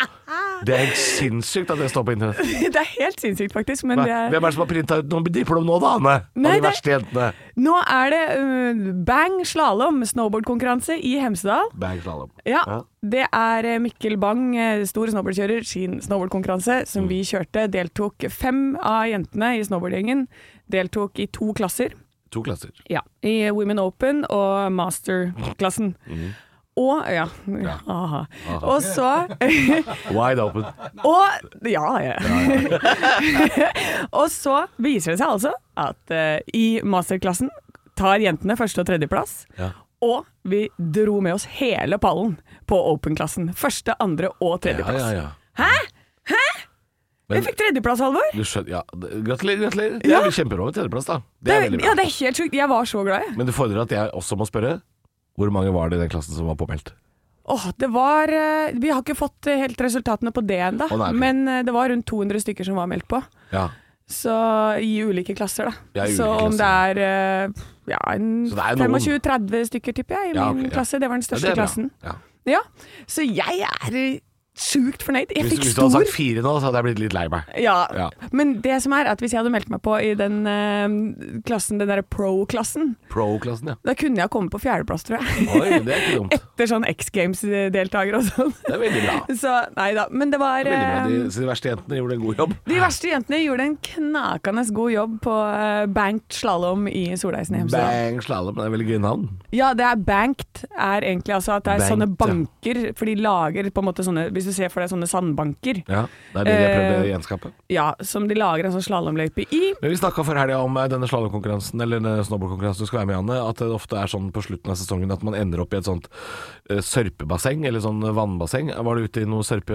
Speaker 3: Det er helt sinnssykt at det står på internett.
Speaker 4: Det er helt sinnssykt, faktisk. Men
Speaker 3: Nei,
Speaker 4: det er
Speaker 3: Hvem er det som har printa ut noen diplom nå, da, Anne?
Speaker 4: Nei,
Speaker 3: Av de
Speaker 4: det-
Speaker 3: verste jentene.
Speaker 4: Nå er det uh, bang slalåm snowboardkonkurranse i Hemsedal.
Speaker 3: Bag slalom.
Speaker 4: Ja,
Speaker 3: Ja.
Speaker 4: Det er eh, Mikkel Bang, eh, stor snowboardkjører, sin snowboardkonkurranse
Speaker 3: Mm.
Speaker 4: som vi kjørte. Deltok fem av jentene i snowboardgjengen. Deltok i to klasser.
Speaker 3: To klasser.
Speaker 4: Ja, I Women Open og masterklassen.
Speaker 3: Mm.
Speaker 4: Og ja, Aha. Og så
Speaker 3: Wide open.
Speaker 4: Og ja, ja. og så viser det seg altså at eh, i masterklassen tar jentene første og tredjeplass.
Speaker 3: Ja.
Speaker 4: Og vi dro med oss hele pallen på open-klassen. Første, andre og tredjeplass.
Speaker 3: Hæ? Hæ?
Speaker 4: Vi
Speaker 3: Men,
Speaker 4: fikk tredjeplass, Halvor!
Speaker 3: du skjønner, ja. det- Gratulerer, gratulerer. Det
Speaker 4: Ja.
Speaker 3: er jo kjempebra med tredjeplass, da. Det
Speaker 4: Det,
Speaker 3: er veldig bra.
Speaker 4: ja, det er helt sjukt. Jeg var så glad, jeg.
Speaker 3: Men det fordrer at jeg også må spørre. Hvor mange var det i den klassen som var påmeldt?
Speaker 4: Åh, det var eh, Vi har ikke fått eh, helt resultatene på det ennå,
Speaker 3: Å, nei, ok.
Speaker 4: men eh, det var rundt 200 stykker som var meldt på.
Speaker 3: Ja.
Speaker 4: Så i ulike klasser, da.
Speaker 3: Ja, i ulike
Speaker 4: så om det
Speaker 3: klasser.
Speaker 4: er eh, ja, en
Speaker 3: Så det er noen.
Speaker 4: 25-30 stykker, tipper jeg, i
Speaker 3: Ja,
Speaker 4: min
Speaker 3: ok, ja.
Speaker 4: klasse. Det var den
Speaker 3: Ja,
Speaker 4: største
Speaker 3: det er bra.
Speaker 4: klassen.
Speaker 3: Ja.
Speaker 4: Ja, Så jeg er eh, sjukt fornøyd. Jeg
Speaker 3: Hvis,
Speaker 4: fikk
Speaker 3: hvis du hadde
Speaker 4: stor
Speaker 3: sagt fire nå, så hadde jeg blitt litt lei meg.
Speaker 4: ja.
Speaker 3: Ja.
Speaker 4: Men det som er at hvis jeg hadde meldt meg på i den eh, klassen, den derre pro-klassen,
Speaker 3: Pro-klassen, ja.
Speaker 4: da kunne jeg kommet på fjerdeplass, tror jeg.
Speaker 3: Oi, det er ikke dumt.
Speaker 4: Etter sånn X Games-deltaker og sånn.
Speaker 3: Det er veldig bra.
Speaker 4: Så nei da. Men det var
Speaker 3: Det er veldig bra.
Speaker 4: eh,
Speaker 3: De, så de verste jentene gjorde en god jobb.
Speaker 4: de verste jentene gjorde en knakende god jobb på eh, banked slalåm i Solheisen i Hemsedal.
Speaker 3: Bang slalåm, det er veldig gøy navn.
Speaker 4: Ja, det er banked, er egentlig altså at det er
Speaker 3: Banked,
Speaker 4: sånne
Speaker 3: ja.
Speaker 4: banker, for de lager på en måte sånne, hvis du ser for deg sånne sandbanker, ja,
Speaker 3: Ja, det er det jeg prøvde å
Speaker 4: Eh,
Speaker 3: gjenskape.
Speaker 4: som de lager en sånn slalåmløype i.
Speaker 3: Men Vi snakka før helga om eh, denne slalåmkonkurransen, eller denne snowboardkonkurransen du skal være med i, Anne. At det ofte er sånn på slutten av sesongen at man ender opp i et sånt eh, sørpebasseng, eller sånn vannbasseng. Var du ute i noe sørpe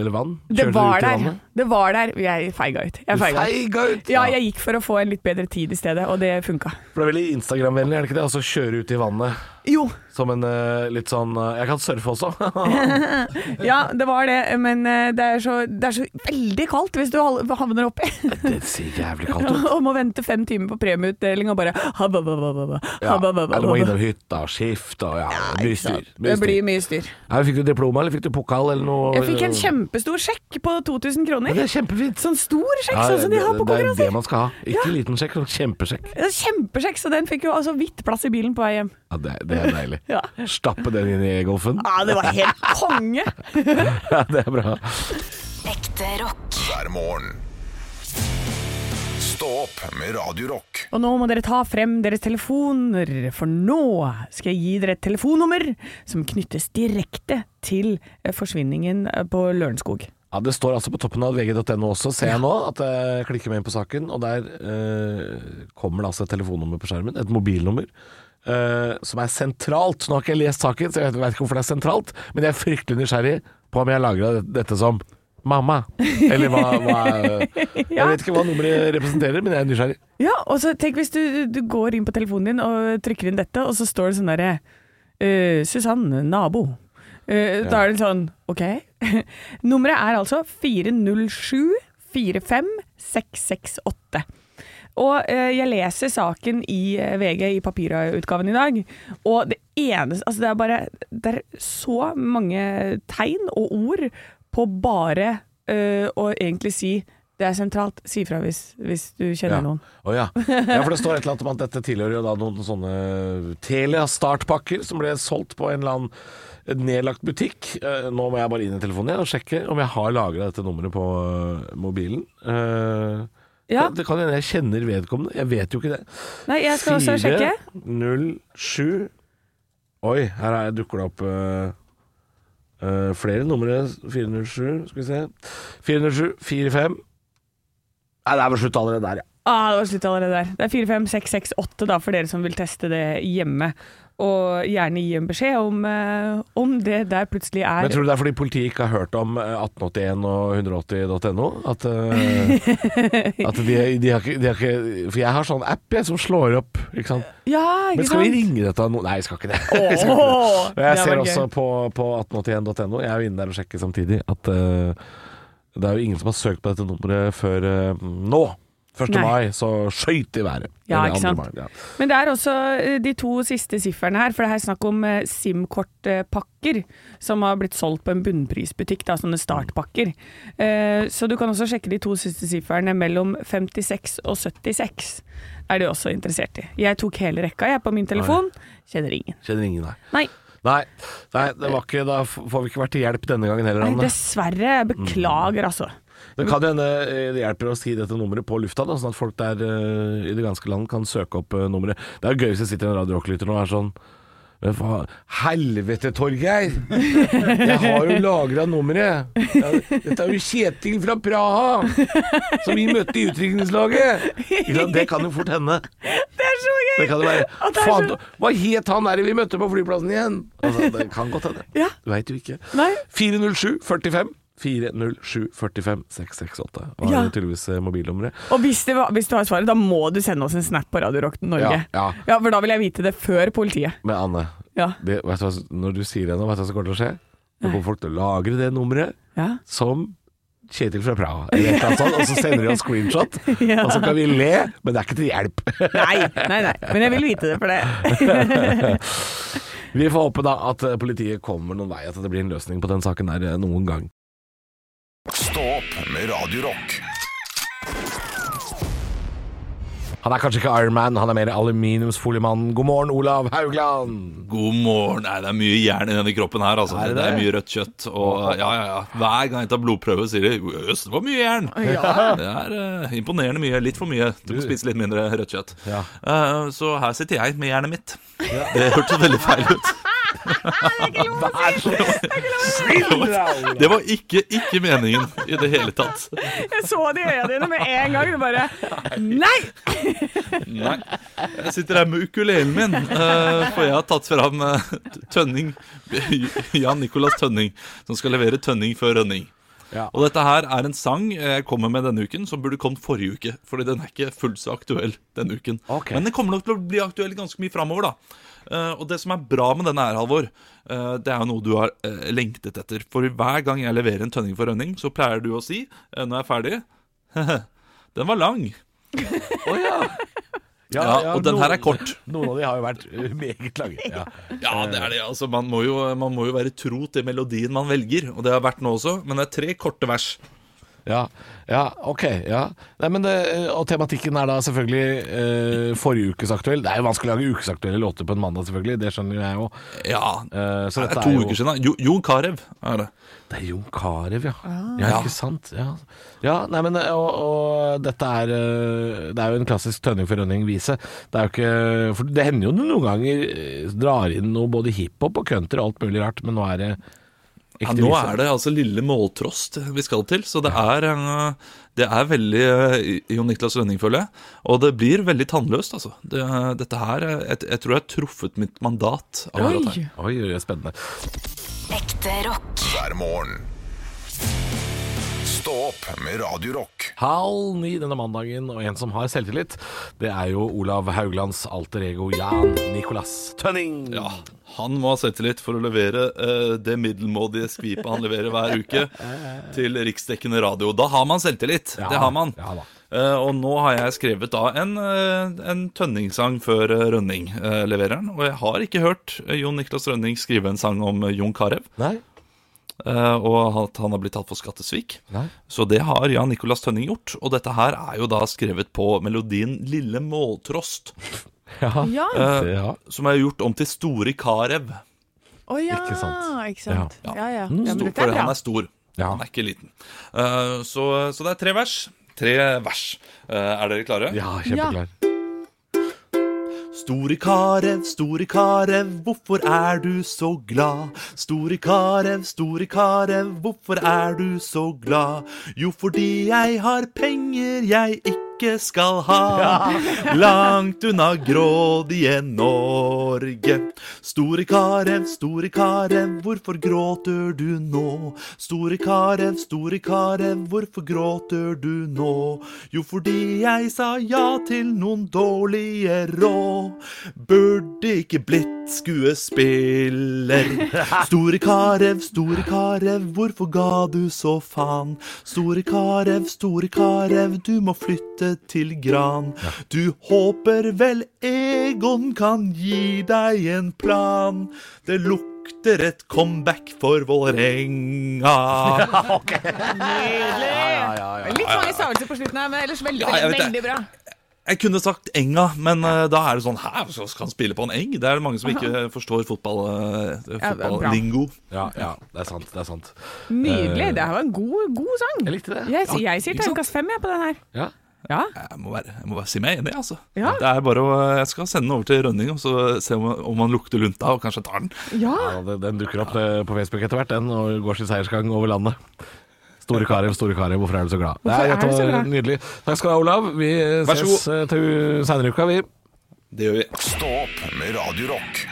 Speaker 3: eller vann?
Speaker 4: Det
Speaker 3: Kjørte du ut
Speaker 4: var
Speaker 3: i
Speaker 4: der,
Speaker 3: vannet?
Speaker 4: det var der, jeg feiga ut. Jeg
Speaker 3: Du
Speaker 4: feiga ut.
Speaker 3: feiga ut!
Speaker 4: Ja, jeg gikk for å få en litt bedre tid i stedet, og det funka.
Speaker 3: For det er veldig Instagram-vennlig, er det ikke det? Altså kjøre ut i vannet
Speaker 4: Jo,
Speaker 3: Som en eh, litt sånn eh, Jeg kan surfe også.
Speaker 4: ja, det var det, men eh, det er så, det er så veldig kaldt hvis du hal- havner oppi
Speaker 3: det ser jævlig kaldt ut.
Speaker 4: og må vente fem timer på premieutdeling og bare hababababa,
Speaker 3: Ja.
Speaker 4: hababababa.
Speaker 3: Eller må innom hytta, skifte og ja, mye
Speaker 4: Ikke sant?
Speaker 3: styr.
Speaker 4: Det
Speaker 3: Mye
Speaker 4: blir
Speaker 3: styr.
Speaker 4: mye styr.
Speaker 3: Ja, fikk du diploma, eller fikk du pokal, eller noe?
Speaker 4: Jeg fikk en kjempestor sjekk på 2000
Speaker 3: Ja,
Speaker 4: kroner.
Speaker 3: det er kjempefint.
Speaker 4: Sånn stor sjekk,
Speaker 3: Ja,
Speaker 4: sånn som de har på
Speaker 3: det er det
Speaker 4: konkurranser.
Speaker 3: man skal ha. Ikke liten sjekk, men kjempesjekk.
Speaker 4: Det er Kjempesjekk, så den fikk jo altså hvitt plass i bilen på vei hjem.
Speaker 3: Ja, det, det er deilig.
Speaker 4: Ja. Ah.
Speaker 3: Stappe den inn i golfen.
Speaker 4: Ja, det var helt konge!
Speaker 3: Ja, det er bra.
Speaker 5: Ekte rock.
Speaker 2: hver morgen. Stå opp med Radio Rock.
Speaker 4: Og nå må dere ta frem deres telefoner, for nå skal jeg gi dere et telefonnummer som knyttes direkte til eh, forsvinningen eh, på Lørenskog.
Speaker 3: Ja, Det står altså på toppen av vg.no også, ser jeg nå, at jeg klikker meg inn på saken. Og der eh, kommer det altså et telefonnummer på skjermen, et mobilnummer, eh, som er sentralt. Nå har ikke jeg lest saken, så jeg vet, vet ikke hvorfor det er sentralt, men jeg er fryktelig nysgjerrig på om jeg har lagra dette som mamma, eller hva, hva er- Jeg vet ikke hva nummeret representerer, men jeg er nysgjerrig.
Speaker 4: Ja, og så tenk hvis du, du går inn på telefonen din og trykker inn dette, og så står det sånn derre eh, Susanne, nabo. Eh, Da er det sånn OK. Nummeret er altså 407-45668. Og eh, jeg leser saken i eh, VG i papirutgaven i dag, og det eneste Altså, det er bare Det er så mange tegn og ord på bare eh, å egentlig si det er sentralt. Si fra hvis, hvis du kjenner
Speaker 3: Ja.
Speaker 4: noen.
Speaker 3: Å ja. ja, for det står et eller annet om at dette tilhører jo da noen sånne Telia startpakker som ble solgt på en eller annen nedlagt butikk. Eh, Nå må jeg bare inn i telefonen igjen og sjekke om jeg har lagra dette nummeret på eh, mobilen. Eh,
Speaker 4: Ja.
Speaker 3: Det, det kan hende jeg kjenner vedkommende, jeg vet jo ikke det.
Speaker 4: Nei, jeg skal også sjekke.
Speaker 3: 407 Oi, her er, dukker det opp eh, eh, flere numre. 407, skal vi se 407, 45 Nei, det er vel slutt allerede der, ja.
Speaker 4: Ah, det var slutt allerede der. Det er 45668 da, for dere som vil teste det hjemme. Og gjerne gi en beskjed om, eh, om det der plutselig er
Speaker 3: Men tror du det er fordi politiet ikke har hørt om eh, 1881 og 180.no? At, eh, at de, de, har ikke, de har ikke For jeg har sånn app jeg, som slår opp, ikke sant.
Speaker 4: Ja, ikke
Speaker 3: Men skal vi
Speaker 4: sant?
Speaker 3: ringe dette no... Nei, jeg skal ikke det. Jeg skal ikke det.
Speaker 4: Åh,
Speaker 3: Og jeg
Speaker 4: det
Speaker 3: ser
Speaker 4: var gøy.
Speaker 3: også på, på 1881.no, jeg er jo inne der og sjekker samtidig, at eh, det er jo ingen som har søkt på dette nummeret før eh, nå. 1.
Speaker 4: Nei.
Speaker 3: mai, så skøyt i været.
Speaker 4: Ja,
Speaker 3: Eller 2.
Speaker 4: ikke sant?
Speaker 3: mai, ja.
Speaker 4: Men det er også eh, de to siste sifferne her, for det er her snakk om eh, SIM-kortpakker som har blitt solgt på en bunnprisbutikk, da, sånne startpakker. Eh, Så du kan også sjekke de to siste sifferne mellom 56 og 76. Er de også interessert i. Jeg tok hele rekka jeg på min telefon. Kjenner ingen.
Speaker 3: Kjenner ingen, nei.
Speaker 4: Nei.
Speaker 3: Nei, nei det var ikke, da f- får vi ikke vært til hjelp denne gangen heller,
Speaker 4: Nei,
Speaker 3: Anne.
Speaker 4: dessverre.
Speaker 3: Mm.
Speaker 4: Jeg Beklager, altså.
Speaker 3: Det kan jo hende eh, det hjelper å si dette nummeret på lufta, da, sånn at folk der eh, i det ganske land kan søke opp eh, nummeret. Det er jo gøy hvis det sitter en Radio Rock-lytter nå og er sånn «Men faen, Helvete, Torgeir! Jeg har jo lagra nummeret! Ja, Dette er jo Kjetil fra Praha! Som vi møtte i utrykningslaget! Ikke sant? Det kan jo fort hende.
Speaker 4: Det er så gøy!
Speaker 3: Det kan jo være
Speaker 4: At det er
Speaker 3: Faen,
Speaker 4: så-
Speaker 3: hva het han der vi møtte på flyplassen igjen? Altså, det kan godt hende.
Speaker 4: Ja.
Speaker 3: Du veit jo ikke.
Speaker 4: Nei.
Speaker 3: 407 45 407 45 668 var
Speaker 4: Ja.
Speaker 3: jo tydeligvis eh, mobilnummeret.
Speaker 4: Og hvis, det var, hvis du har svaret, da må du sende oss en snap på Radio Rock Norge.
Speaker 3: Ja, ja.
Speaker 4: ja, for da vil jeg vite det før politiet.
Speaker 3: Men Anne,
Speaker 4: Ja.
Speaker 3: det, vet du, hva- når du sier det nå, vet du hva som kommer til å skje? Nå kommer folk til å lagre det nummeret
Speaker 4: Ja.
Speaker 3: som Kjetil fra Praha, eller et eller annet sånt, og så sender de en screenshot, og så kan vi le, men det er ikke til hjelp.
Speaker 4: Nei, nei, nei. Men jeg vil vite det for det.
Speaker 3: Vi får håpe da at eh, politiet kommer noen vei, at det blir en løsning på den saken der eh, noen gang.
Speaker 2: Stå opp med Radio Rock.
Speaker 3: Han er kanskje ikke Iron Man, han er mer aluminiumsfoliemannen. God morgen, Olav Haugland!
Speaker 6: God morgen. Nei, det er mye jern i denne kroppen her, altså.
Speaker 3: Er det
Speaker 6: det,
Speaker 3: det?
Speaker 6: er mye rødt kjøtt. Og ja, ja, ja. Hver gang jeg tar blodprøve, sier de Jøss, det var mye jern. Det er eh, imponerende mye. Litt for mye. Du må spise litt mindre rødt kjøtt.
Speaker 3: Ja.
Speaker 6: Eh, så her sitter jeg med jernet mitt. Det hørtes veldig feil ut.
Speaker 3: Vær så snill, Olav!
Speaker 6: Det var ikke, ikke meningen i det hele tatt.
Speaker 4: Jeg så det i øya dine med en gang. Du bare Nei!
Speaker 6: Nei. Jeg sitter her med ukulelen min, eh, for jeg har tatt fram eh, Tønning. Jan Nicolas Tønning, som skal levere Tønning før Rønning.
Speaker 3: Ja.
Speaker 6: Og dette her er en sang jeg kommer med denne uken som burde kommet forrige uke. Fordi den er ikke fullt så aktuell denne uken.
Speaker 3: Ok.
Speaker 6: Men den kommer nok til å bli aktuell ganske mye framover, da. Eh, og det som er bra med denne her, Halvor, eh, det er jo noe du har eh, lengtet etter. For hver gang jeg leverer en tønning for rønning, så pleier du å si, eh, når jeg er ferdig Den var lang. Å ja. Ja, og den her er kort.
Speaker 3: Noen av de har jo vært eh, meget lange. Ja.
Speaker 6: Ja, det er det. Altså, man, må jo, man må jo være tro til melodien man velger, og det har vært nå også. Men det er tre korte vers.
Speaker 3: Ja, ja ok. Ja. Nei, men det, og tematikken er da selvfølgelig eh, forrige ukes aktuell. Det er jo vanskelig å lage ukesaktuelle låter på en mandag, selvfølgelig. Det skjønner jo jeg òg.
Speaker 6: Ja,
Speaker 3: Eh, så
Speaker 6: det er
Speaker 3: dette
Speaker 6: to
Speaker 3: er jo-
Speaker 6: uker siden. da. Jo, Jon Carew er det.
Speaker 3: Det er Jon Carew, ja.
Speaker 4: Ah.
Speaker 3: ja. Ikke sant. Ja, ja nei, men eh, og, og dette er eh, Det er jo en klassisk tønning for rønning-vise. Det er jo ikke For det hender jo det noen ganger eh, drar inn noe både hiphop og country og alt mulig rart, men nå er det
Speaker 6: Ja, nå er det altså Lille Måltrost vi skal til, så det er, eh, det er veldig eh, Jon Niklas Rønning, føler jeg. Og det blir veldig tannløst, altså. Det, dette her eh, jeg, jeg tror jeg har truffet mitt mandat. akkurat her.
Speaker 4: Oi!
Speaker 3: Oi, det er spennende.
Speaker 5: Ekte rock.
Speaker 2: hver morgen. Stå opp med Radio Rock.
Speaker 3: Halv ni denne mandagen, og en som har selvtillit, det er jo Olav Hauglands alter ego Jan Nicolas Tønning.
Speaker 6: Ja, han må ha selvtillit for å levere eh, det middelmådige skvipet han leverer hver uke til riksdekkende radio. Da har man selvtillit.
Speaker 3: Ja,
Speaker 6: det har man.
Speaker 3: ja da.
Speaker 6: Eh, og nå har jeg skrevet da en, eh, en Tønning-sang før eh, Rønning eh, leverer den. Og jeg har ikke hørt eh, Jon Niklas Rønning skrive en sang om eh, Jon Carew,
Speaker 3: Nei?
Speaker 6: eh, og at han har blitt tatt for skattesvik.
Speaker 3: Nei?
Speaker 6: Så det har Jan Nicolas Tønning gjort. Og dette her er jo da skrevet på melodien 'Lille måltrost',
Speaker 3: Ja.
Speaker 4: Ja.
Speaker 6: eh,
Speaker 3: ja.
Speaker 6: som er gjort om til 'Store Carew'.
Speaker 4: Å ja,
Speaker 3: Ikke sant.
Speaker 4: Ikke sant. Ja, ja. ja. men
Speaker 6: Mm. Stor,
Speaker 4: dette er
Speaker 6: for han
Speaker 4: bra.
Speaker 6: er stor.
Speaker 3: Ja.
Speaker 6: Han er ikke liten. Eh, så, så det er tre vers. Tre vers. Eh, er dere klare?
Speaker 3: ja, kjempeklar.
Speaker 6: Store Karev, store Karev, hvorfor er du så glad? Store Karev, store Karev, hvorfor er du så glad? Jo, fordi jeg har penger jeg ikke skal ha. Langt unna grådige Norge. Store Karev, store Karev, hvorfor gråter du nå? Store Karev, store Karev, hvorfor gråter du nå? Jo, fordi jeg sa ja til noen dårlige råd. Burde ikke blitt skuespiller. Store Karev, store Karev, hvorfor ga du så faen? Store Karev, store Karev, du må flytte til Gran. Du håper vel Egon kan gi deg en plan. Det lukter et comeback for Vålerenga.
Speaker 4: Litt mange stavelser på slutten her, men ellers veldig,
Speaker 6: Ja,
Speaker 4: veldig,
Speaker 6: jeg vet det.
Speaker 4: veldig bra.
Speaker 6: Jeg kunne sagt enga, men eh, da er det sånn Hæ, så skal han spille på en eng? Det er det mange som ikke forstår fotball, eh,
Speaker 4: Ja, bra.
Speaker 6: fotballingo.
Speaker 3: Ja, ja, det er sant. Det er sant.
Speaker 4: Nydelig.
Speaker 3: Eh,
Speaker 4: Det her var en god, god sang.
Speaker 3: Jeg likte det.
Speaker 4: Jeg, jeg sier
Speaker 6: ikke sant?
Speaker 4: terningkast fem jeg, på den her.
Speaker 3: Ja.
Speaker 4: Ja.
Speaker 6: Jeg må, være, jeg må bare si meg enig, altså.
Speaker 4: Ja.
Speaker 6: Det er bare å, jeg skal sende den over til Rønning og så se om, om han lukter lunta, og kanskje tar den.
Speaker 4: ja.
Speaker 3: Ja, det- den dukker opp eh, på Facebook etter hvert, den, og går sin seiersgang over landet. Store Karev, Store Karev, hvorfor er du så glad?
Speaker 4: Hvorfor
Speaker 3: Nei, dette
Speaker 4: er du så
Speaker 3: var
Speaker 4: glad?
Speaker 3: Nydelig. Takk skal du ha, Olav. Vi eh,
Speaker 6: Vær så
Speaker 3: ses eh, til seinere i uka, vi.
Speaker 6: Det gjør vi.
Speaker 2: Stå opp med Radio Rock.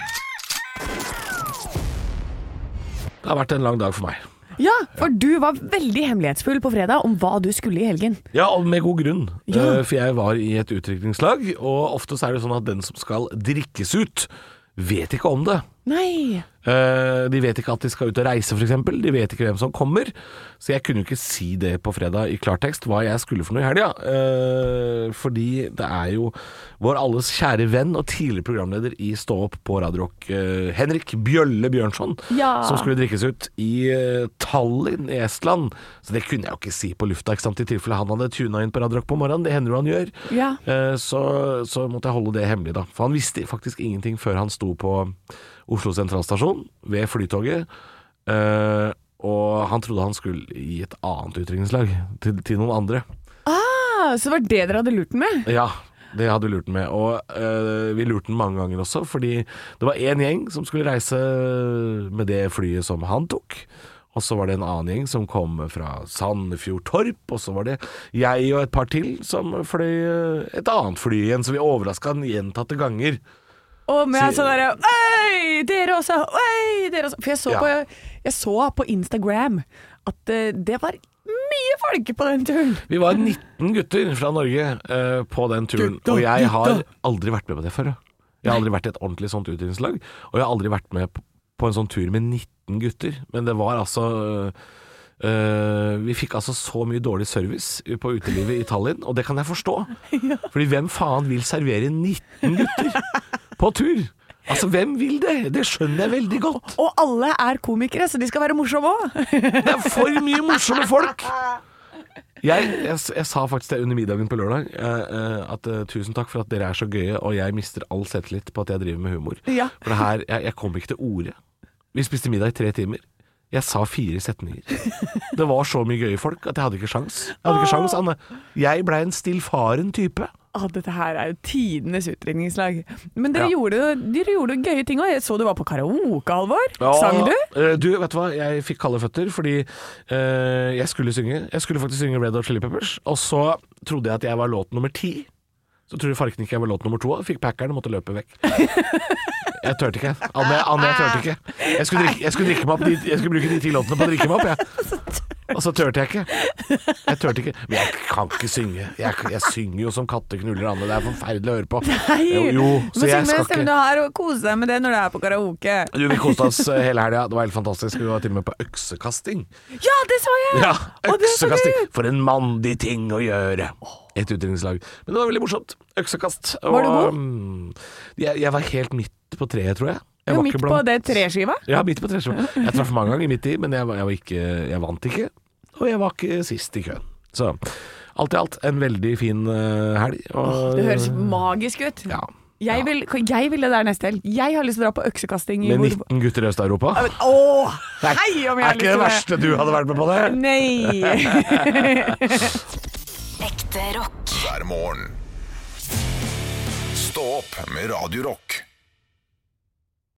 Speaker 3: Det har vært en lang dag for meg.
Speaker 4: ja, for du var veldig hemmelighetsfull på fredag om hva du skulle i helgen.
Speaker 3: Ja, og med god grunn. Eh, For jeg var i et utdrikningslag, og ofte så er det sånn at den som skal drikkes ut, vet ikke om det.
Speaker 4: Nei.
Speaker 3: Eh, De vet ikke at de skal ut og reise, f.eks. De vet ikke hvem som kommer. Så jeg kunne jo ikke si det på fredag i klartekst, hva jeg skulle for noe i helga. Eh, Fordi det er jo vår alles kjære venn og tidligere programleder i Stå opp på Radio Rock, eh, Henrik Bjølle Bjørnson,
Speaker 4: Ja.
Speaker 3: som skulle drikkes ut i eh, Tallinn i Estland. Så det kunne jeg jo ikke si på lufta, ikke sant? i tilfelle han hadde tuna inn på Radio Rock på morgenen. Det hender jo han gjør.
Speaker 4: Ja.
Speaker 3: Eh, så, så måtte jeg holde det hemmelig, da. For han visste faktisk ingenting før han sto på Oslo sentralstasjon ved Flytoget. Eh, og han trodde han skulle i et annet utdrikningslag, til, til noen andre.
Speaker 4: Ah, så det var det dere hadde lurt den med?
Speaker 3: Ja, det hadde vi lurt den med. Og eh, vi lurte den mange ganger også, fordi det var én gjeng som skulle reise med det flyet som han tok. Og så var det en annen gjeng som kom fra Sandefjord Torp. Og så var det jeg og et par til som fløy eh, et annet fly igjen, så vi overraska han gjentatte ganger.
Speaker 4: Og med
Speaker 3: Si-
Speaker 4: sånn derre Oi, dere også! Oi, ikke dere også For jeg så,
Speaker 3: Ja.
Speaker 4: på, jeg så på Instagram at eh, det var mye folk på den turen.
Speaker 3: Vi var 19 gutter fra Norge eh, på den turen,
Speaker 4: Gutta,
Speaker 3: og jeg har
Speaker 4: gutta.
Speaker 3: aldri vært med på det før. ja. Jeg har aldri vært i et ordentlig sånt utdrikningslag, og jeg har aldri vært med p- på en sånn tur med 19 gutter. Men det var altså eh, eh, Vi fikk altså så mye dårlig service på utelivet i Tallinn, og det kan jeg forstå. Fordi hvem faen vil servere 19 gutter på tur? Altså, hvem vil det? Det skjønner jeg veldig godt.
Speaker 4: Og alle er komikere, så de skal være morsomme òg.
Speaker 3: Det er for mye morsomme folk! Jeg, jeg, jeg sa faktisk det under middagen på lørdag, eh, eh, at eh, tusen takk for at dere er så gøye, og jeg mister all selvtillit på at jeg driver med humor.
Speaker 4: Ja.
Speaker 3: For det her, jeg, jeg kom ikke til orde. Vi spiste middag i tre timer. Jeg sa fire setninger. Det var så mye gøye folk at jeg hadde ikke sjans. Jeg hadde ikke sjans, Anne. Jeg blei en stillfaren type.
Speaker 4: Ah, dette her er jo tidenes utdrikningslag. Men dere,
Speaker 3: Ja.
Speaker 4: gjorde, dere gjorde gøye ting òg. Jeg så du var på karaoke, Halvor.
Speaker 3: Ja.
Speaker 4: Sang du?
Speaker 3: Eh, Du, vet du hva? Jeg fikk kalde føtter fordi eh, jeg skulle synge. Jeg skulle faktisk synge Red Hot Chili Peppers, og så trodde jeg at jeg var låt nummer ti. Så trodde farken ikke jeg var låt nummer to, og fikk packeren og måtte løpe vekk. Jeg turte ikke. Anne, Anne jeg turte ikke. Jeg skulle, drikke, jeg, skulle drikke meg opp de, jeg skulle bruke de ti låtene på å drikke meg opp, jeg. Og så turte jeg ikke. Jeg turte ikke. Men jeg kan ikke synge. Jeg, jeg synger jo som katteknuller, Anne. Det er forferdelig å høre på. Jo, jo,
Speaker 4: du må
Speaker 3: så jeg skal
Speaker 4: synge med den
Speaker 3: ikke
Speaker 4: stemmen du har, og kose deg med det når du er på karaoke.
Speaker 3: du, vi koste oss eh, hele helga. Det var helt fantastisk. Vi var til og med på øksekasting.
Speaker 4: Ja, det så jeg!
Speaker 3: Ja,
Speaker 4: Og det så
Speaker 3: øksekasting.
Speaker 4: gøy ut!
Speaker 3: For en mandig ting å gjøre. Et utdrikningslag. Men det var veldig morsomt. Øksekast.
Speaker 4: Var du god?
Speaker 3: mm, Jeg, jeg var helt midt på treet, tror jeg. jeg
Speaker 4: Du
Speaker 3: var
Speaker 4: var
Speaker 3: ikke
Speaker 4: midt på
Speaker 3: blant-
Speaker 4: det treskiva.
Speaker 3: Ja, midt på treet. tror jeg. Jeg traff mange ganger midt i, men jeg, var- jeg, var ikke, jeg vant ikke. Og jeg var ikke sist i køen. Så alt i alt en veldig fin eh, helg. Og,
Speaker 4: Det høres magisk ut.
Speaker 3: Eh, ja.
Speaker 4: Jeg, vil, jeg vil det der neste helg. Jeg har lyst til å dra på øksekasting. i
Speaker 3: Med
Speaker 4: Bodø-
Speaker 3: 19 gutter i Øst-Europa.
Speaker 4: Ja, men- Åh, hei om jeg har
Speaker 3: Er ikke
Speaker 4: lyst
Speaker 3: det
Speaker 4: til det!
Speaker 3: verste du hadde vært med på det?
Speaker 4: Nei.
Speaker 5: Ekte rock.
Speaker 2: hver morgen. Stå opp med Radio Rock.